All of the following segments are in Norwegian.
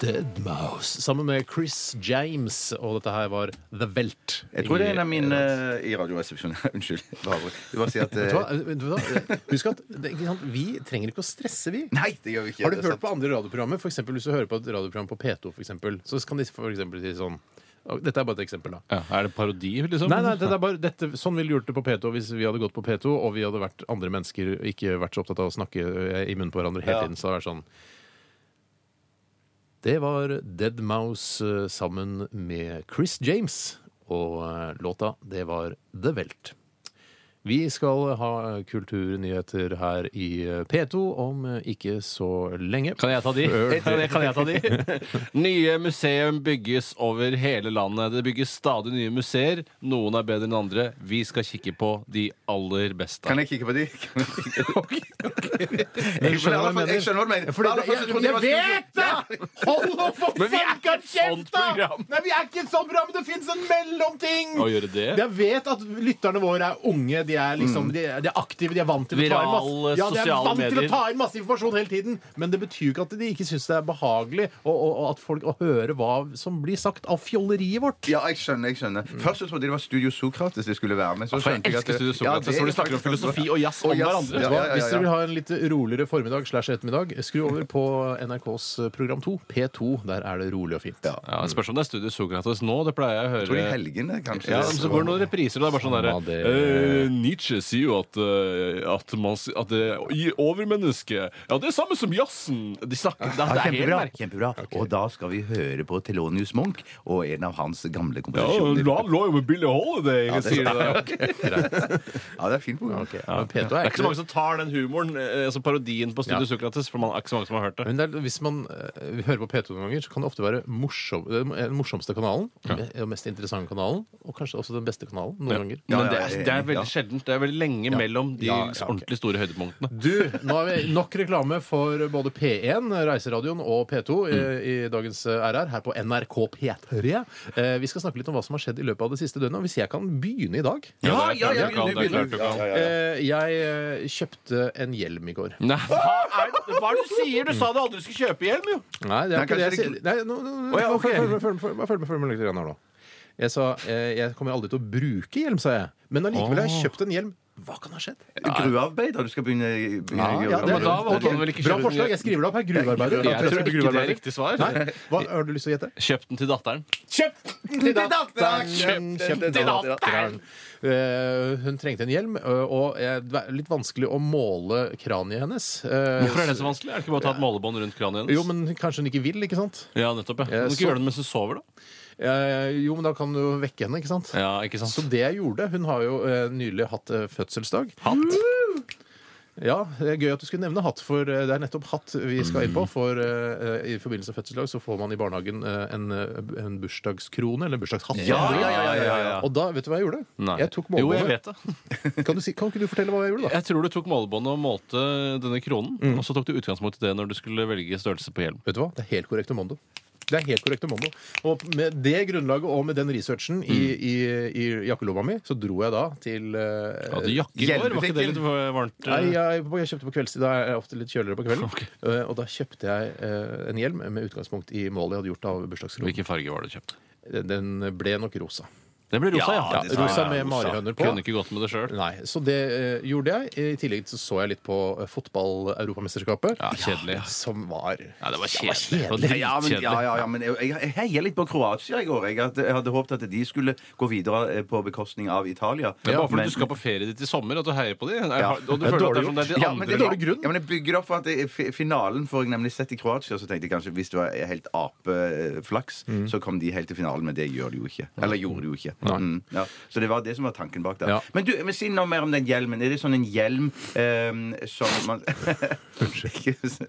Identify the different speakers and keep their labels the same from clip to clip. Speaker 1: Dead Mouse sammen med Chris James, og dette her var The Velt.
Speaker 2: Jeg tror det er en av mine i Radioresepsjonen. Unnskyld. Bare, jeg bare sier at
Speaker 1: Vet
Speaker 2: eh,
Speaker 1: du hva? Vet du hva? Husk at det, ikke sant? vi trenger ikke å stresse, vi.
Speaker 2: eh, Nei, det gjør vi ikke.
Speaker 1: Har du
Speaker 2: det er
Speaker 1: hørt
Speaker 2: sant.
Speaker 1: på andre radioprogrammer? For eksempel, hvis du hører på et radioprogram på P2, for eksempel, så kan de for eksempel si sånn Dette er bare et eksempel, da.
Speaker 3: Ja, er det parodi, liksom?
Speaker 1: Nei, nei, det er bare dette, Sånn ville vi gjort det på P2 hvis vi hadde gått på P2, og vi hadde vært andre mennesker og ikke vært så opptatt av å snakke eh, i munnen på hverandre hele
Speaker 2: Ja.
Speaker 1: tiden. Så hadde det vært sånn Det var Dead Mouse eh, sammen med Chris James, og eh, låta, det var The Velt. Vi skal ha eh, kulturnyheter her i eh, P2 om eh, ikke så lenge.
Speaker 3: Kan jeg ta de?
Speaker 1: Før-
Speaker 3: Kan jeg, kan jeg ta de? nye museum bygges over hele landet. Det bygges stadig nye museer. Noen er bedre enn andre. Vi skal kikke på de aller beste.
Speaker 2: Kan jeg kikke på de? Kan jeg kikke på de?
Speaker 1: Men
Speaker 2: Jeg skjønner hva du mener. Jeg skjønner hva du mener.
Speaker 1: Fordi
Speaker 2: Aller
Speaker 1: det-
Speaker 2: først, jeg trodde det var
Speaker 1: jeg vet det! Hold nå for
Speaker 3: Men vi er ikke et sånt program.
Speaker 1: Nei, vi er ikke et sånt program, men det fins en mellomting!
Speaker 3: Å gjøre det? Mm.
Speaker 1: Jeg vet at lytterne våre er unge, de er, liksom, de, er- de er aktive, de er vant til å ta inn
Speaker 3: Virale
Speaker 1: masse, ja, de er
Speaker 3: sosiale
Speaker 1: vant til
Speaker 3: medier.
Speaker 1: å ta inn masse informasjon hele tiden. Men det betyr jo ikke at de ikke syns det er behagelig og, og, og at folk å høre hva som blir sagt av fjolleriet vårt.
Speaker 2: Ja, jeg skjønner. jeg skjønner Først så trodde jeg det var Studio Sokrates de skulle være med. Så
Speaker 3: For jeg
Speaker 2: skjønte jeg at
Speaker 3: elsker
Speaker 2: det-
Speaker 3: Studio Sokrates,
Speaker 2: det er
Speaker 3: hvor de snakker om
Speaker 2: faktisk-
Speaker 3: filosofi og jazz om
Speaker 2: Og Ja,
Speaker 3: hverandre.
Speaker 1: Vet du hva?
Speaker 2: ja, ja,
Speaker 1: Hvis
Speaker 2: ja.
Speaker 1: dere vil ha en litt roligere formiddag slash ettermiddag, skru over på NRKs program 2, P2. Der er det rolig og fint.
Speaker 3: Ja, det spørs om det er Studio Sokrates nå. Det pleier jeg å
Speaker 2: Jeg tror i
Speaker 3: høre.
Speaker 2: helgene, kanskje.
Speaker 3: eh, Ja, men så går det noen repriser, og det er bare sånn derre
Speaker 1: Samme det.
Speaker 3: eh, Nietzsche sier jo at, eh, at, man, s- at det i overmennesket Ja, det er samme som jazzen! De snakker Det,
Speaker 2: Ja,
Speaker 3: det er helt
Speaker 2: kjempebra.
Speaker 3: merkelig.
Speaker 2: kjempebra. Og da skal vi høre på Thelonious Monk og en av hans gamle
Speaker 3: Ja,
Speaker 2: komposisjoner.
Speaker 3: han lå jo med Billy Holiday,
Speaker 2: Ja, det-
Speaker 3: sier de der.
Speaker 2: Ja, det er fint program.
Speaker 1: Men P2 er
Speaker 3: Det er ikke så
Speaker 1: ikke
Speaker 3: mange som tar den humoren, eh, altså parodien på Studio
Speaker 1: Ja.
Speaker 3: Sokrates, for man er ikke så mange som har hørt det.
Speaker 1: men det er, hvis man eh, hører på P2 noen ganger, så kan det ofte være morsom, det er den morsomste kanalen. Den mest interessante kanalen, og kanskje også den beste kanalen noen ganger.
Speaker 2: Ja,
Speaker 3: Men det
Speaker 2: ja,
Speaker 3: er,
Speaker 2: jeg er
Speaker 3: det er
Speaker 2: enig,
Speaker 3: veldig sjeldent. Det er veldig lenge mellom de
Speaker 1: Ja, ja, ok.
Speaker 3: ordentlig store høydepunktene.
Speaker 1: Du, nå har vi nok reklame for både P1, Reiseradioen, og P2 i,
Speaker 2: Mm.
Speaker 1: i dagens RR her på NRK P3. Eh, vi skal snakke litt om hva som har skjedd i løpet av det siste døgnet. og Hvis jeg kan begynne i dag
Speaker 2: Ja, ja, ja,
Speaker 3: Det er klart du kan, det er klart du kan.
Speaker 1: Eh, Jeg eh, kjøpte en hjelm i går.
Speaker 3: Nei, hva er, det- hva er det du sier? Du sa du aldri skulle kjøpe hjelm, jo!
Speaker 1: Nei, det er
Speaker 2: Nei,
Speaker 1: ikke det jeg
Speaker 2: kanskje
Speaker 1: sier.
Speaker 2: det
Speaker 1: Nei, nå- nå- nå-
Speaker 3: Å, ja,
Speaker 1: nå-
Speaker 3: ok.
Speaker 1: Følg meg- følg meg- følg meg- følg meg- følg meg litt grann her nå. Jeg sa eh, jeg kommer aldri til å bruke hjelm, sa jeg. Men allikevel har jeg kjøpt en hjelm. Hva kan ha skjedd?
Speaker 2: Gruvearbeider du skal begynne, begynne å gjøre.
Speaker 3: det- men da var-
Speaker 1: ok.
Speaker 3: kan du vel ikke
Speaker 1: Bra
Speaker 3: kjøpe
Speaker 1: forslag.
Speaker 3: den-
Speaker 1: Jeg skriver det opp her. Gruvearbeider.
Speaker 3: Jeg tror
Speaker 1: kjøpte
Speaker 3: ikke det er
Speaker 1: gruvearbeider.
Speaker 3: riktig svar.
Speaker 1: Nei? Eh, Hva har du lyst til å gjette?
Speaker 3: Kjøp den til datteren.
Speaker 1: Kjøpt den til datteren! Kjøpt den til datteren! Eh, hun trengte en hjelm, eh, og eh, det var litt vanskelig å måle kraniet hennes. Eh,
Speaker 3: Hvorfor er det så vanskelig? Er det ikke bare å ta et målebånd rundt kraniet hennes?
Speaker 1: Jo, men kanskje hun ikke vil, ikke sant?
Speaker 3: Ja, nettopp, ja. Kan du
Speaker 1: så-
Speaker 3: ikke gjøre det mens du sover, da?
Speaker 1: Eh, jo, men da kan du jo vekke henne, ikke sant?
Speaker 3: Ja, ikke
Speaker 1: Så
Speaker 3: sant?
Speaker 1: det jeg gjorde Hun har jo eh, nylig hatt eh, fødselsdag.
Speaker 3: Hatt.
Speaker 1: Ja, det er Gøy at du skulle nevne hatt, for eh, det er nettopp hatt vi skal
Speaker 2: Mm.
Speaker 1: inn på. For eh, i forbindelse med fødselsdag så får man i barnehagen eh, en, eh, en bursdagskrone, eller en bursdagshatt.
Speaker 2: Ja, ja, ja, ja, ja, ja.
Speaker 1: Og da, vet du hva jeg gjorde?
Speaker 3: Nei.
Speaker 1: Jeg tok
Speaker 3: jo, jeg
Speaker 1: målebåndet.
Speaker 3: vet det.
Speaker 1: Kan, du si, kan ikke du fortelle hva jeg gjorde, da?
Speaker 3: Jeg tror du tok målebåndet og målte denne kronen,
Speaker 2: Mm.
Speaker 3: og så tok du utgangspunkt i det når du skulle velge størrelse på hjelm.
Speaker 1: Vet du hva? Det er helt korrekt om Mondo. Det er helt korrekt om Mondo. Og med det grunnlaget og med den researchen i,
Speaker 2: Mm.
Speaker 1: i, i jakkelomma mi, så dro jeg da til eh,
Speaker 3: Du hadde jakke i går, var ikke
Speaker 2: Hjelmetikken.
Speaker 3: det litt varmt? eh?
Speaker 1: Nei, jeg, jeg kjøpte på kveldstid. Da er jeg ofte litt kjøligere på kvelden. Eh, og da kjøpte jeg eh, en hjelm med utgangspunkt i målet jeg hadde gjort av bursdagskronen.
Speaker 3: eh? Hvilken farge var det du kjøpte?
Speaker 1: Den ble nok rosa.
Speaker 3: Det ble rosa, ja.
Speaker 1: Ja, rosa med marihøner på.
Speaker 3: Kunne ikke gått med det sjøl.
Speaker 1: Nei, Så det eh, gjorde jeg. I tillegg så, så jeg litt på eh, fotball-europamesterskapet.
Speaker 3: Ja, kjedelig.
Speaker 1: som var
Speaker 3: Ja, det var
Speaker 1: Ja,
Speaker 3: kjedelig. Det var
Speaker 1: kjedelig.
Speaker 2: Ja, men,
Speaker 3: dritkjedelig.
Speaker 2: ja, ja, ja, men jeg, jeg, jeg heier litt på Kroatia i går. Jeg hadde, jeg hadde håpet at de skulle gå videre eh, på bekostning av Italia.
Speaker 3: Det er bare fordi
Speaker 2: Men-
Speaker 3: du skal på ferie ditt i sommer at du heier på de. Er-
Speaker 2: Ja.
Speaker 3: Og du
Speaker 1: Det er dårlig
Speaker 3: føler at det er som det er de
Speaker 2: Ja, men
Speaker 3: andre
Speaker 2: det
Speaker 3: lag.
Speaker 1: dårlig grunn.
Speaker 2: Ja, men jeg bygger opp for at det, fi- finalen får jeg nemlig sett i Kroatia. Så tenkte jeg kanskje hvis det var helt apeflaks,
Speaker 3: Mm.
Speaker 2: så kom de helt til finalen. Men det gjør de jo ikke. Eller gjorde de jo ikke. Mm, ja. Så det var det som var tanken bak der.
Speaker 1: Ja.
Speaker 2: Men du, men si noe mer om den hjelmen. Er det sånn en hjelm ehm, som man Unnskyld.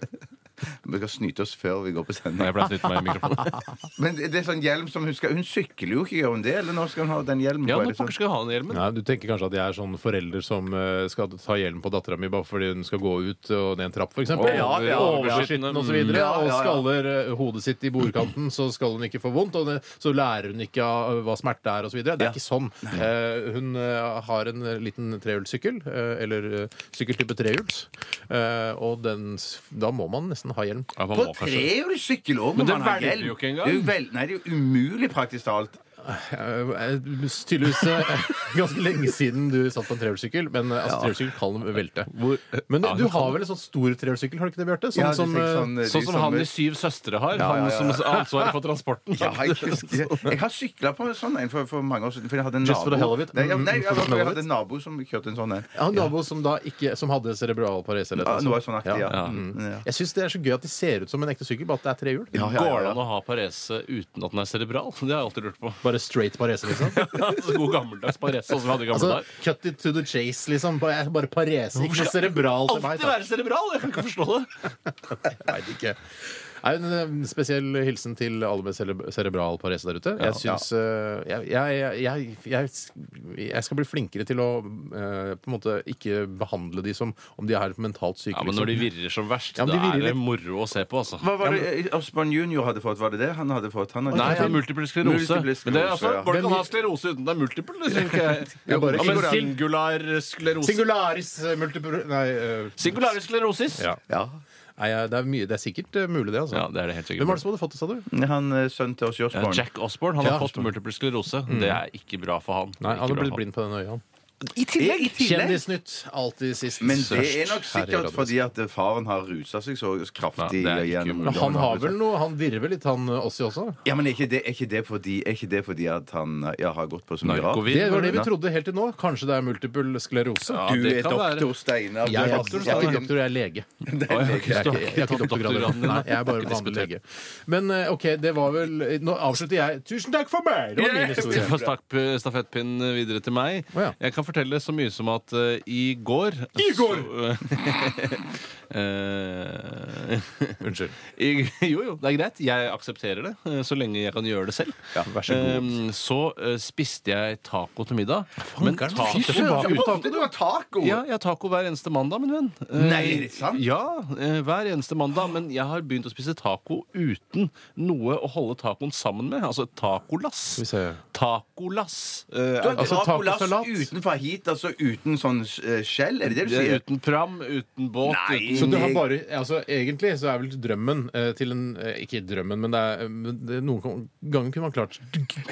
Speaker 2: Vi skal snyte oss før vi går på
Speaker 3: Nei,
Speaker 2: sending.
Speaker 3: jeg ble snytt meg i mikrofonen.
Speaker 2: Men det er sånn hjelm som hun skal Hun sykler jo ikke, gjør hun det? Eller nå skal hun ha den hjelmen?
Speaker 3: Ja,
Speaker 2: på, er
Speaker 3: nå
Speaker 2: det sånn-
Speaker 3: pokker skal jeg ha den hjelmen.
Speaker 1: Nei, Du tenker kanskje at jeg er sånn forelder som eh, skal ta hjelmen på dattera mi bare fordi hun skal gå ut eh, og ned en trapp, f.eks.
Speaker 3: Å, ja, ja, Mm.
Speaker 1: Overskitten
Speaker 3: overskitten,
Speaker 1: og så videre.
Speaker 2: ja, ja,
Speaker 1: Og
Speaker 2: ja.
Speaker 1: skaller eh, hodet sitt i bordkanten, så skal hun ikke få vondt. Og det, så lærer hun ikke av hva smerte er, osv. videre. Det er ikke sånn. Eh, hun eh, har en liten trehjulssykkel, eh, eller eh, sykkeltype trehjuls, eh, og den, s- da må man nesten ha hjelm.
Speaker 3: Ja, man
Speaker 2: På
Speaker 3: må kanskje-
Speaker 2: trehjulssykkel òg må
Speaker 3: Men det
Speaker 2: man ha
Speaker 3: velger
Speaker 2: hjelm.
Speaker 3: du jo ikke engang.
Speaker 2: Det er jo vel- Nei, det er jo umulig, praktisk talt.
Speaker 1: Eh, eh, Tydeligvis eh, ganske lenge siden du satt på en trehjulssykkel, men eh, altså, trehjulssykkel kan velte. Men
Speaker 3: Ja,
Speaker 1: du
Speaker 3: det kan
Speaker 1: har vel en sånn stor trehjulssykkel, har du ikke det, Bjarte? Sånn
Speaker 2: Ja,
Speaker 1: som,
Speaker 2: det er
Speaker 1: eh,
Speaker 2: sånn, eh, de
Speaker 3: Sånn som han i Syv søstre har.
Speaker 2: Ja, ja, ja.
Speaker 3: Han som har ansvaret for transporten.
Speaker 2: Ja, jeg, husker- jeg har sykla på en sånn en for, for mange år siden. For jeg hadde en
Speaker 1: Just for the hell
Speaker 2: nabo
Speaker 1: of it?
Speaker 2: Nei, ja, nei,
Speaker 1: Mm,
Speaker 2: jeg,
Speaker 1: for the hell
Speaker 2: jeg
Speaker 1: of
Speaker 2: hadde en nabo som kjørte en sånn en.
Speaker 1: jeg har en nabo som da ikke Som hadde cerebral parese. eller
Speaker 2: Ja,
Speaker 1: noe
Speaker 2: noe
Speaker 1: sånt.
Speaker 2: sånn aktig, ja.
Speaker 3: Ja.
Speaker 2: Mm, ja.
Speaker 1: Jeg syns det er så gøy at de ser ut som en ekte sykkel, bare at det er trehjul.
Speaker 2: Ja, ja, ja,
Speaker 3: Går det an å ha parese uten at den er cerebral? Det har jeg alltid lurt på.
Speaker 1: Bare straight parese, liksom.
Speaker 3: Så god gammeldags parese, sånn som vi hadde i gamle
Speaker 1: Altså,
Speaker 3: dager.
Speaker 1: cut it to the chase, liksom. Bare, bare parese. Ikke noe cerebral til meg.
Speaker 3: Alltid
Speaker 1: takk.
Speaker 3: være cerebral! Jeg kan ikke forstå det.
Speaker 1: Nei, det ikke. Nei, en eh, spesiell hilsen til alle med cere- cerebral parese der ute. Jeg syns eh, jeg, jeg, jeg, jeg, jeg skal bli flinkere til å eh, på en måte ikke behandle de som om de er helt mentalt syke.
Speaker 3: Ja, Men når de
Speaker 1: liksom.
Speaker 3: virrer som verst,
Speaker 1: Ja, men de
Speaker 3: da er
Speaker 1: virrer
Speaker 3: det moro å se på, altså.
Speaker 2: Hva var det Osborn junior hadde fått? Var det det han hadde fått? Han hadde
Speaker 3: Nei, det er multiple sklerose.
Speaker 2: Multiple sklerose,
Speaker 3: Men det er altså,
Speaker 2: ja.
Speaker 3: Folk kan ha sklerose uten det er multiple. det synes ikke jeg.
Speaker 1: Jeg bare-
Speaker 3: Ja, men singular sklerose.
Speaker 1: Singularis eh, multipro... Nei, eh,
Speaker 3: Singular sklerosis.
Speaker 1: Ja.
Speaker 2: Ja.
Speaker 1: nei ja, det, er mye, det er sikkert eh, mulig, det. altså
Speaker 3: Ja, det er det helt
Speaker 1: Hvem var det
Speaker 3: sikkert.
Speaker 1: som hadde fått det, sa du?
Speaker 2: Han eh, sønnen til oss,
Speaker 3: Ja,
Speaker 2: Osborn.
Speaker 3: Jack Osborne han har
Speaker 1: Ja,
Speaker 3: fått
Speaker 1: Osborne.
Speaker 3: multiple sklerose. Det er ikke bra for han.
Speaker 1: Nei,
Speaker 3: Ikke
Speaker 1: Han
Speaker 3: bra
Speaker 1: har blitt
Speaker 3: for
Speaker 1: blind på den øya.
Speaker 2: I tillegg! I tillegg.
Speaker 1: Kjendisnytt alltid sist.
Speaker 2: Men det
Speaker 1: Størst
Speaker 2: er nok
Speaker 1: her i
Speaker 2: sikkert
Speaker 1: radioen.
Speaker 2: fordi at eh, faren har rusa seg så kraftig.
Speaker 3: Ja, det er ikke
Speaker 2: gjennom
Speaker 3: mulig.
Speaker 1: Men han har vel noe Han virrer vel litt, han eh, Ossi også?
Speaker 2: Ja, men er ikke det, er ikke det, fordi, er ikke det fordi at han eh, ja, har gått på så mye rart?
Speaker 3: Narkovid.
Speaker 1: Det var det vi trodde helt til nå. Kanskje det er multiple sklerose.
Speaker 3: Ja,
Speaker 2: Du
Speaker 3: det
Speaker 2: er
Speaker 3: kan være.
Speaker 2: doktor Steinar.
Speaker 1: Jeg, er-
Speaker 2: Du er
Speaker 1: jeg er ikke
Speaker 2: doktor,
Speaker 1: doktor, jeg er lege. Jeg
Speaker 3: Å, ja,
Speaker 1: er
Speaker 3: du har
Speaker 1: ikke,
Speaker 3: ikke
Speaker 1: jeg er ikke
Speaker 3: tatt
Speaker 1: doktorgrader.
Speaker 3: doktorgraden din,
Speaker 1: Nei,
Speaker 3: nei.
Speaker 1: jeg er bare
Speaker 3: Ikke
Speaker 1: vanlig
Speaker 3: diskutert.
Speaker 1: lege. Men eh, OK, det var vel Nå avslutter jeg. Tusen takk for meg! Det var min historie.
Speaker 3: Få stakk stafettpinnen videre til meg.
Speaker 1: Å, ja.
Speaker 3: Jeg kan fortelle så mye som at eh, i går
Speaker 1: I går!
Speaker 3: så, eh,
Speaker 1: Unnskyld.
Speaker 3: I, jo, jo, det er greit. Jeg aksepterer det, eh, så lenge jeg kan gjøre det selv.
Speaker 1: vær så god.
Speaker 3: Eh, så eh, spiste jeg taco til middag. Men
Speaker 1: Fankeren,
Speaker 3: taco
Speaker 1: fy søren,
Speaker 2: Steinar.
Speaker 1: doktor.
Speaker 2: Ofte du har taco!
Speaker 3: ja, jeg har taco hver eneste mandag, min venn. Eh,
Speaker 2: Nei, er det sant?
Speaker 3: Ja, eh, hver eneste mandag. Men jeg har begynt å spise taco uten noe å holde tacoen sammen med. Altså
Speaker 1: Skal vi
Speaker 3: tacolass.
Speaker 1: se.
Speaker 3: Tacolass. eh,
Speaker 2: Du har
Speaker 1: Altså,
Speaker 2: Draculas
Speaker 1: tacosalat.
Speaker 2: uten fajit, altså uten sånn eh, skjell? Er det det du
Speaker 3: Det er
Speaker 2: sier?
Speaker 3: uten pram, uten båt,
Speaker 2: Nei.
Speaker 1: Så
Speaker 3: uten
Speaker 1: du har bare, altså Egentlig så er vel drømmen eh, til en eh, Ikke drømmen, men det er, eh, men det, noen kan- ganger kunne man klart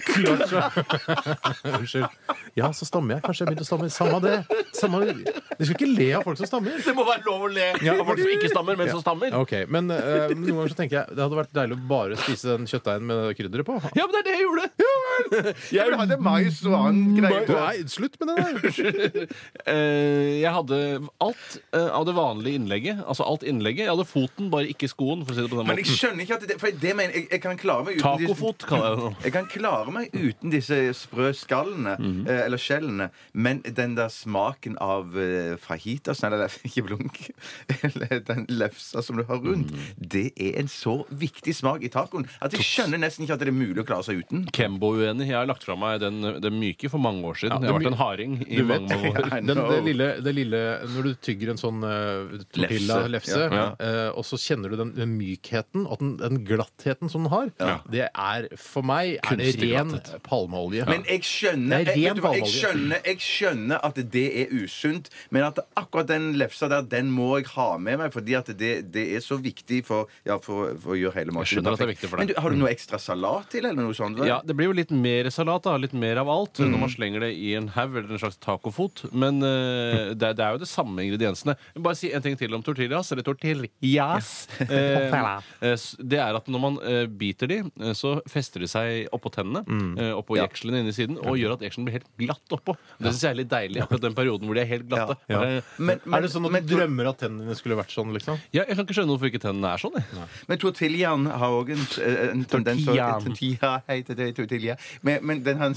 Speaker 1: Klart seg. Unnskyld. Ja, så stammer jeg. Kanskje jeg begynte å stamme. Samme av det. Samme, du skal ikke le av folk som stammer.
Speaker 3: Det må være lov å le
Speaker 1: Ja.
Speaker 3: av folk som ikke stammer, men som stammer.
Speaker 1: Ja, Ok, Men eh, men noen ganger så tenker jeg det hadde vært deilig å bare spise den kjøttdeigen med det krydderet på.
Speaker 3: Ja, men det er det jeg gjorde!
Speaker 2: Jeg hadde mais og
Speaker 3: Mm,
Speaker 2: annen greie på.
Speaker 1: Nei, slutt med det der!
Speaker 3: Eh, jeg hadde alt eh, av det vanlige innlegget. Altså alt innlegget. Jeg hadde foten, bare ikke skoen. For å si det på den
Speaker 2: Men jeg
Speaker 3: måten.
Speaker 2: skjønner ikke at det For det mener jeg Jeg kan klare meg uten disse-
Speaker 3: Tacofot, kaller jeg det. nå.
Speaker 2: Jeg kan klare meg uten disse sprø skallene,
Speaker 3: Mhm.
Speaker 2: eh, eller skjellene, men den der smaken av eh, fajitas, eller lef- ikke blunk, eller den lefsa som du har rundt,
Speaker 3: Mhm.
Speaker 2: det er en så viktig smak i tacoen at jeg skjønner nesten ikke at det er mulig å klare seg uten.
Speaker 3: Kembo-uenig. Jeg har lagt fra meg den, den myke for mange år
Speaker 1: Ja,
Speaker 3: siden. jeg har
Speaker 1: det
Speaker 3: vært
Speaker 1: my-
Speaker 3: en harding i
Speaker 1: Du vet,
Speaker 3: mange, mange år.
Speaker 2: I
Speaker 1: den,
Speaker 2: know.
Speaker 1: det, lille, det lille Når du tygger en sånn uh, tortilla
Speaker 2: Lefse.
Speaker 1: lefse, eh, og så kjenner du den, den mykheten og den, den glattheten som den har, det er for meg er det
Speaker 3: Kunstig
Speaker 1: ren
Speaker 3: glatthet.
Speaker 1: palmeolje.
Speaker 2: Men jeg skjønner,
Speaker 1: Det er
Speaker 2: jeg,
Speaker 1: ren
Speaker 2: vet du hva, jeg,
Speaker 1: palmeolje.
Speaker 2: skjønner, jeg skjønner at det er usunt, men at akkurat den lefsa der, den må jeg ha med meg, fordi at det, det er så viktig for, ja, for, for å gjøre hele maten
Speaker 3: skjønner at det er viktig for deg.
Speaker 2: Men du, har du noe ekstra salat til, eller noe sånt?
Speaker 3: Ja, Det blir jo litt mer salat, da. Litt mer av alt eh, når man slenger det i en haug eller en slags tacofot. Men eh, det, det er jo det samme ingrediensene. Jeg vil Bare si en ting til om tortillas, eller tortillas. Eh, eh, s- det er at når man eh, biter de, eh, så fester de seg oppå tennene, eh, oppå
Speaker 2: Ja.
Speaker 3: jekslene inni siden, og gjør at jekselen blir helt glatt oppå. Det syns jeg er litt deilig, akkurat den perioden hvor de er helt glatte.
Speaker 1: Ja.
Speaker 3: Bare-
Speaker 2: Men, men,
Speaker 1: er det sånn at
Speaker 2: men,
Speaker 1: du drømmer at tennene dine skulle vært sånn? liksom?
Speaker 3: Ja, jeg kan ikke skjønne hvorfor ikke tennene er sånn. Jeg.
Speaker 2: men tortillaen har òg en, eh, en tendens å-
Speaker 3: Tortillaen.
Speaker 2: Tortilla, hei til deg, tortilla. Men, men den har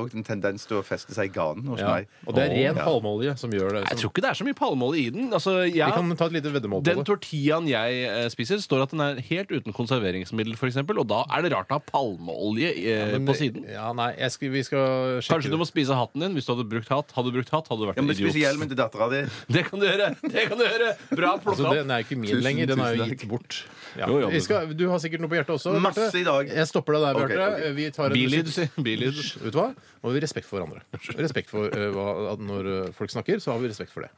Speaker 2: òg en tendens til å feste seg i ganen hos
Speaker 1: Ja.
Speaker 2: meg.
Speaker 1: Og det er ren
Speaker 2: Ja.
Speaker 1: palmeolje som gjør det.
Speaker 3: Jeg
Speaker 1: Som,
Speaker 3: tror ikke det er så mye palmeolje i den. Altså, jeg,
Speaker 1: Vi kan ta et lite veddemål på
Speaker 3: Den
Speaker 1: det.
Speaker 3: tortillaen jeg eh, spiser, står at den er helt uten konserveringsmiddel, for eksempel, og da er det rart å ha palmeolje eh, på siden.
Speaker 1: Ja, nei, jeg skal, vi skal sjekke
Speaker 3: Kanskje du må spise hatten din hvis du hadde brukt hatt. Hadde du brukt hatt, hadde du vært
Speaker 2: Ja,
Speaker 3: en
Speaker 2: men
Speaker 3: idiot.
Speaker 2: spise hjelmen til dattera di.
Speaker 3: Det kan du gjøre! det kan du gjøre Bra plukka
Speaker 1: Altså,
Speaker 3: opp.
Speaker 1: den er jo ikke min
Speaker 2: Tusen,
Speaker 1: lenger. Den er jo
Speaker 2: tusen takk.
Speaker 1: gitt bort. Ja.
Speaker 3: Jo, jo, men-
Speaker 1: vi skal, du har sikkert noe på hjertet også.
Speaker 2: Masse
Speaker 1: Bjarte.
Speaker 2: i dag.
Speaker 1: Jeg stopper deg der,
Speaker 2: Ok,
Speaker 1: Bjarte.
Speaker 2: ok.
Speaker 1: Vi tar en
Speaker 3: Bilid,
Speaker 1: musikk-
Speaker 3: si. de-lyd.
Speaker 1: Vet du hva? Nå har vi respekt for hverandre. Respekt for eh, hva, at Når eh, folk snakker, så har vi respekt for det.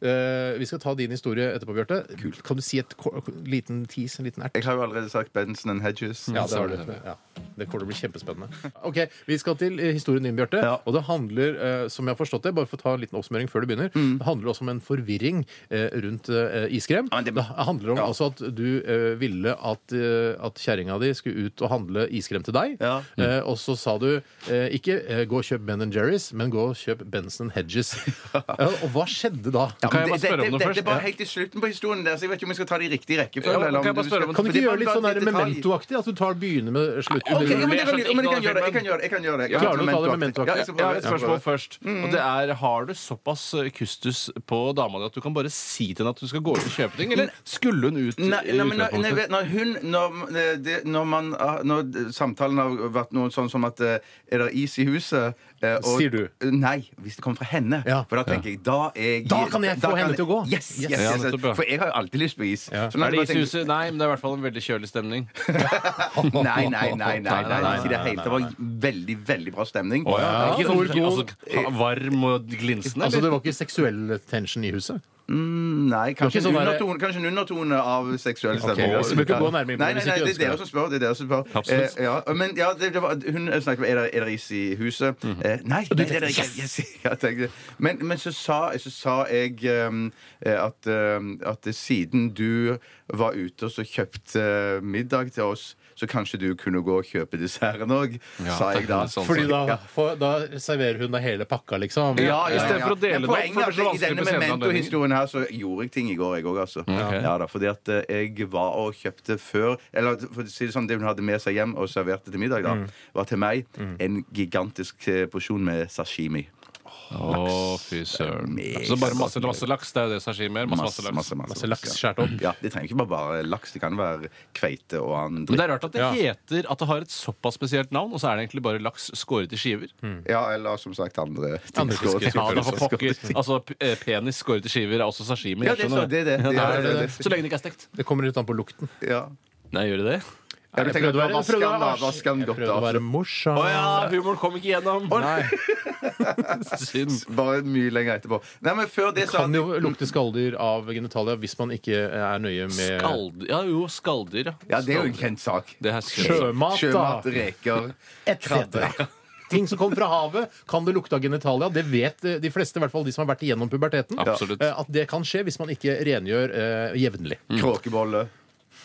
Speaker 1: Eh, vi skal ta din historie etterpå, Bjarte. Kan du si et ko- liten tease? En liten ert?
Speaker 2: Jeg har jo allerede sagt Benson and Hedges.
Speaker 1: Ja, det, har du. Ja. det kommer til å bli kjempespennende. Ok, Vi skal til eh, historien din, Bjarte.
Speaker 2: Ja.
Speaker 1: Og det handler, eh, som jeg har forstått det, bare for å ta en liten oppsummering før du begynner,
Speaker 2: Mm.
Speaker 1: det handler også om en forvirring eh, rundt eh, iskrem.
Speaker 2: Ja, men
Speaker 1: det...
Speaker 2: det-
Speaker 1: handler om
Speaker 2: Ja.
Speaker 1: altså at du eh, ville at, eh, at kjerringa di skulle ut og handle iskrem til deg.
Speaker 2: Ja.
Speaker 1: Eh, og så sa du eh, ikke eh, 'gå og kjøp Ben Jerry's', men 'gå og kjøp Benson Hedges'. ja, og hva skjedde da?
Speaker 3: Kan jeg
Speaker 2: Det-
Speaker 3: bare
Speaker 2: det-
Speaker 3: spørre om
Speaker 2: det-
Speaker 3: noe
Speaker 2: det-
Speaker 3: først?
Speaker 2: Det er bare helt i slutten på historien der, så jeg vet ikke om jeg skal ta det i riktig rekkefølge.
Speaker 3: Ja,
Speaker 2: eller om
Speaker 3: kan jeg
Speaker 2: du
Speaker 3: bare spørre
Speaker 2: skal-
Speaker 3: om-
Speaker 1: Kan du ikke
Speaker 2: for det er
Speaker 1: gjøre litt
Speaker 2: bare-
Speaker 1: sånn
Speaker 2: bare
Speaker 1: der
Speaker 2: detalj.
Speaker 1: memento-aktig? At du tar begynner med slutten?
Speaker 2: Ok, ja, men det kan
Speaker 3: Mer
Speaker 2: jeg-
Speaker 3: sånn
Speaker 2: men jeg kan gjøre det. Jeg kan
Speaker 3: innholdsfilmen.
Speaker 2: gjøre det. Jeg kan gjøre det.
Speaker 1: Klarer du å ta det med memento-aktig?
Speaker 2: Memento-aktig. Ja, jeg skal
Speaker 3: Jeg har
Speaker 2: prøve.
Speaker 3: et spørsmål først.
Speaker 2: Mm.
Speaker 3: Og det er, Har du såpass eh, kustus på dama di at du kan bare si til henne at du skal gå ut og kjøpe ting? Eller skulle hun ut?
Speaker 2: Nei,
Speaker 3: i
Speaker 2: nei, men når,
Speaker 3: utgangspunktet?
Speaker 2: nei, vet- når hun Når, eh, det, når, man, har- når d- samtalen har vært noe sånn som at eh, Er det is i huset? eh,
Speaker 1: Sier du?
Speaker 2: Nei, hvis det kommer fra henne.
Speaker 1: Ja.
Speaker 2: For da tenker jeg Da, er jeg,
Speaker 1: Da kan jeg få henne til å gå.
Speaker 2: Yes, yes,
Speaker 1: Ja,
Speaker 2: yes, yes,
Speaker 3: nettopp, ja.
Speaker 2: For jeg har jo alltid lyst på is.
Speaker 1: Ja.
Speaker 2: Så når
Speaker 3: Er det
Speaker 2: jeg
Speaker 3: is i
Speaker 2: bare
Speaker 3: huset? Nei, men det er i hvert fall en veldig kjølig stemning.
Speaker 2: tenker, Nei, nei, nei. nei, nei, nei, ikke i det hele tatt. Det var veldig, veldig bra stemning.
Speaker 1: ja.
Speaker 3: Ikke sånn,
Speaker 1: Hvor god-
Speaker 3: altså, varm og glinsende?
Speaker 1: Altså, det
Speaker 3: eller?
Speaker 1: var ikke seksuell tension i huset?
Speaker 2: Nei, kanskje,
Speaker 1: Det var ikke sånn
Speaker 2: en
Speaker 1: der-
Speaker 2: undertone, kanskje en undertone av seksuell
Speaker 1: Ok,
Speaker 2: stemning.
Speaker 1: ja, så vi kan gå nærmere inn på det
Speaker 2: nei, nei,
Speaker 1: hvis
Speaker 2: nei,
Speaker 1: ikke
Speaker 2: det
Speaker 1: ønsker
Speaker 2: er dere
Speaker 1: det.
Speaker 2: som spør. Det er dere som spør.
Speaker 3: Absolutt.
Speaker 2: Eh, ja, men ja, det, det var, hun snakket om er det- er det is i huset.
Speaker 1: Mhm.
Speaker 2: Eh, nei, nei, det er det ikke. Yes! Ja, jeg tenkte. Men, men så sa, så sa jeg ehm, eh, at, ehm, at siden du var ute og så kjøpte middag til oss, så kanskje du kunne gå og kjøpe desserten òg,
Speaker 3: Ja,
Speaker 2: sa jeg da.
Speaker 3: sånn
Speaker 1: Fordi
Speaker 3: sagt.
Speaker 1: da, for, da serverer hun deg hele pakka, liksom?
Speaker 3: Ja, i stedet for å dele
Speaker 2: Men
Speaker 3: det opp, for det
Speaker 2: poenget
Speaker 3: blir så
Speaker 2: er at I
Speaker 3: vanskelig
Speaker 2: denne
Speaker 3: på senere
Speaker 2: memento-historien her så gjorde jeg ting i går, jeg òg, altså.
Speaker 3: Ok.
Speaker 2: Ja, da, fordi at eh, jeg var og kjøpte før Eller for å si det sånn, det hun hadde med seg hjem og serverte til middag, da, var til meg en gigantisk eh, porsjon med sashimi.
Speaker 3: Å, fy søren. Så bare masse, masse laks. Det er jo det sashimi er. Masse, masse laks.
Speaker 1: Masse laks skåret opp.
Speaker 2: Ja, Det trenger ikke bare være laks. Det kan være kveite og annen
Speaker 3: Men
Speaker 2: dritt.
Speaker 3: det er rart at det heter at det har et såpass spesielt navn, og så er det egentlig bare laks skåret i skiver.
Speaker 2: Ja, eller som sagt andre ting.
Speaker 1: Andre
Speaker 2: Hmm. Skåret i
Speaker 1: fisker.
Speaker 3: Ja,
Speaker 2: skiver.
Speaker 3: da for pokker. Altså, p- eh, penis skåret i skiver er også sashimi.
Speaker 2: Ja,
Speaker 3: jeg
Speaker 2: det er
Speaker 3: skjønner
Speaker 2: så- det er det.
Speaker 3: Ja,
Speaker 2: Ja, det er
Speaker 3: det.
Speaker 2: det.
Speaker 3: Så lenge det ikke er stekt.
Speaker 1: Det kommer litt an på lukten.
Speaker 2: Ja.
Speaker 3: Nei, gjør det det?
Speaker 2: Ja, du
Speaker 1: Jeg
Speaker 2: tenker
Speaker 1: prøvde å
Speaker 2: at
Speaker 1: være-
Speaker 2: da
Speaker 1: jeg prøvde å
Speaker 2: vasker
Speaker 1: være
Speaker 2: han da,
Speaker 1: ars-
Speaker 2: vasker han
Speaker 1: Jeg
Speaker 2: godt
Speaker 1: prøvde å
Speaker 2: da.
Speaker 1: være morsom.
Speaker 3: Å ja, humoren kom ikke gjennom! Synd.
Speaker 2: Bare mye lenger etterpå. Nei, men før det så
Speaker 1: Kan jo lukte skalldyr av genitalia hvis man ikke er nøye med
Speaker 3: Skald... Ja, jo, skalldyr,
Speaker 2: Ja, det er jo en kjent sak.
Speaker 3: Det her skal jeg-
Speaker 1: Sjømat,
Speaker 2: Sjømat,
Speaker 1: da!
Speaker 2: reker
Speaker 1: Et cetera. Ting som kommer fra havet, kan det lukte av genitalia. Det vet eh, de fleste, i hvert fall de som har vært igjennom puberteten.
Speaker 3: Absolutt.
Speaker 1: eh, At det kan skje hvis man ikke rengjør eh, jevnlig.
Speaker 2: Kråkebolle.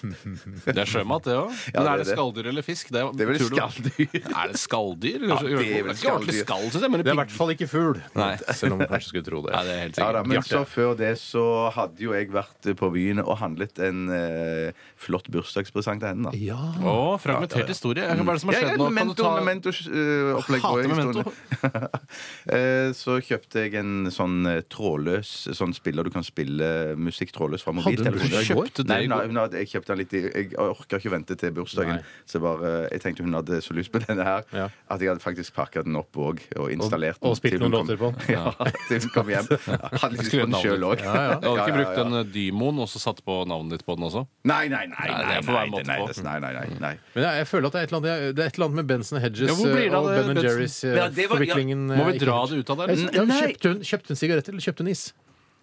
Speaker 3: Det er sjømat, det
Speaker 2: Ja,
Speaker 3: òg. Men
Speaker 2: det er
Speaker 3: er det
Speaker 2: det.
Speaker 3: skalldyr eller fisk? Det er,
Speaker 2: Det er vel
Speaker 3: tror du-
Speaker 2: skalldyr.
Speaker 3: Er det skalldyr?
Speaker 2: Ja, det er vel
Speaker 3: ikke ordentlig
Speaker 2: skalldyr.
Speaker 3: skall, synes jeg, men
Speaker 1: Det er i hvert fall ikke fugl.
Speaker 3: Nei.
Speaker 1: Selv om man kanskje skulle tro det.
Speaker 3: Nei, det er helt
Speaker 2: Ja, da,
Speaker 3: sikkert.
Speaker 2: men
Speaker 1: Bjarte.
Speaker 2: så før det så hadde jo jeg vært på byen og handlet en eh, flott bursdagspresang til henne. da
Speaker 1: Ja.
Speaker 3: Å, fragmentert historie. Hva er det som har
Speaker 2: Ja, ja,
Speaker 3: skjedd nå? Kan
Speaker 2: memento,
Speaker 3: du ta-
Speaker 2: memento-opplegg på
Speaker 3: Hater memento.
Speaker 2: historiene. Eh, så kjøpte jeg en sånn eh, trådløs sånn spiller du kan spille musikk trådløs fra
Speaker 1: Hadde du
Speaker 2: mobiltelefonen.
Speaker 1: bursdag i går?
Speaker 3: Kjøpte det
Speaker 2: Nei,
Speaker 3: i
Speaker 2: hun
Speaker 3: går?
Speaker 2: hadde- hun hadde, jeg kjøpte den litt i Jeg orka ikke vente til bursdagen,
Speaker 1: Nei.
Speaker 2: så bare, eh, jeg tenkte hun hadde så lyst på denne her
Speaker 1: Ja.
Speaker 2: at jeg hadde faktisk pakka den opp òg og installert den.
Speaker 1: og spilt
Speaker 2: til hun
Speaker 1: noen låter
Speaker 2: kom-
Speaker 1: på
Speaker 2: Ja, til hun kom hjem. Jeg Hadde lyst på
Speaker 3: Skrevet
Speaker 2: den
Speaker 3: navnet
Speaker 2: sjøl
Speaker 3: ditt.
Speaker 2: òg.
Speaker 1: Ja, ja.
Speaker 3: Du hadde ikke brukt den eh, Dymoen og så satt på navnet ditt på den også?
Speaker 2: Nei, nei, nei.
Speaker 3: Nei, det
Speaker 2: nei,
Speaker 3: er for hver
Speaker 2: nei,
Speaker 3: måte
Speaker 2: nei,
Speaker 3: på.
Speaker 2: nei, nei, nei, nei.
Speaker 1: Men jeg, jeg føler at det er et eller annet, det er et eller annet med Benson Hedges
Speaker 3: Ja, hvor blir det
Speaker 1: eh,
Speaker 3: av
Speaker 1: og
Speaker 3: det,
Speaker 1: Ben
Speaker 2: Ja,
Speaker 3: Benson?
Speaker 2: det var- ja.
Speaker 1: Jerrys-forviklingen.
Speaker 3: Må vi dra det ut av der? liksom?
Speaker 1: Ja,
Speaker 2: Nei.
Speaker 1: kjøpte, hun, kjøpte hun sigaretter, eller kjøpte hun is?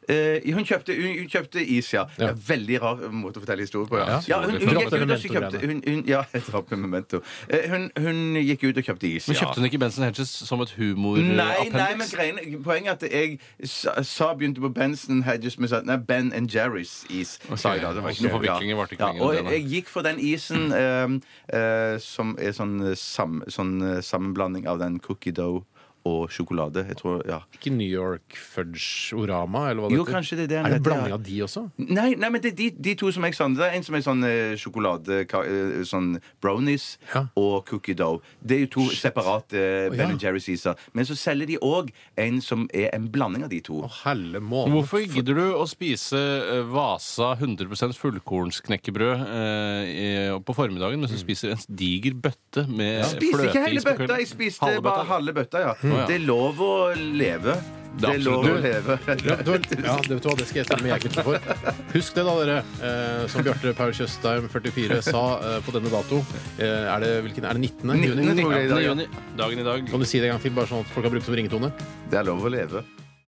Speaker 2: Eh, hun, kjøpte, hun, hun kjøpte is, ja.
Speaker 1: Ja.
Speaker 2: Veldig rar måte å fortelle historie på.
Speaker 1: Ja.
Speaker 2: Ja. Ja, hun, hun,
Speaker 1: Dropp
Speaker 2: gikk
Speaker 1: det
Speaker 2: ut og så
Speaker 1: memento-greiene.
Speaker 2: kjøpte hun, hun, ja, jeg dropper memento. Eh, hun, hun gikk ut og kjøpte is,
Speaker 3: Men
Speaker 2: ja.
Speaker 3: kjøpte eh, hun ikke Benson Hedges som et
Speaker 2: Nei, nei, men
Speaker 3: humor-appendix?
Speaker 2: greiene, poenget er at jeg sa, sa begynte på Benson Hedges, men sa nei, Ben and Jerry's is. sa jeg da. Det var
Speaker 3: Ok,
Speaker 2: ikke noe-
Speaker 3: så forviklingen varte ikke lenger
Speaker 2: Og jeg,
Speaker 3: enn det,
Speaker 2: jeg gikk for den isen eh, eh, som er sånn, eh, sam, sånn eh, sammenblanding av den cookie dough og sjokolade. Jeg tror, ja.
Speaker 1: Ikke New York Fudge-orama, eller hva det
Speaker 2: Jo, kanskje det er det
Speaker 1: Er det
Speaker 2: den
Speaker 1: en
Speaker 2: heter,
Speaker 1: blanding
Speaker 2: ja.
Speaker 1: av de også?
Speaker 2: Nei, nei, men det er de, de to som jeg sa. Det er en som er sånn eh, sjokolade... ka- eh, sånn brownies
Speaker 1: Ja.
Speaker 2: og cookie dough. Det er jo to separate eh, Ben
Speaker 1: ja.
Speaker 2: Jerry's iser. Men så selger de òg en som er en blanding av de to.
Speaker 1: Å, helle måne.
Speaker 3: Hvorfor gidder du å spise eh, Vasa 100 fullkornsknekkebrød eh, i- på formiddagen mens du spiser en diger bøtte med
Speaker 2: Jeg spiste ikke hele
Speaker 3: fløteis på
Speaker 2: bøtta,
Speaker 3: kvelden?
Speaker 2: jeg spiste
Speaker 3: Halve bøtta?
Speaker 2: bare halve bøtta, ja.
Speaker 3: ja.
Speaker 2: Det er lov å leve. Det er lov å
Speaker 1: absolutt-
Speaker 2: leve.
Speaker 1: Ja, du, ja, det vet du hva, det skal jeg stemme jeg er ikke for. Husk det, da, dere. Eh, som Bjarte Paul Tjøstheim, 44, sa eh, på denne dato. Eh, er det hvilken? Er det 19. juni?
Speaker 2: Nittende, tror jeg, i dag, ja.
Speaker 3: Dagen i dag.
Speaker 1: Kan du si det en gang til, bare sånn at folk har brukt som ringetone?
Speaker 2: Det er lov å leve.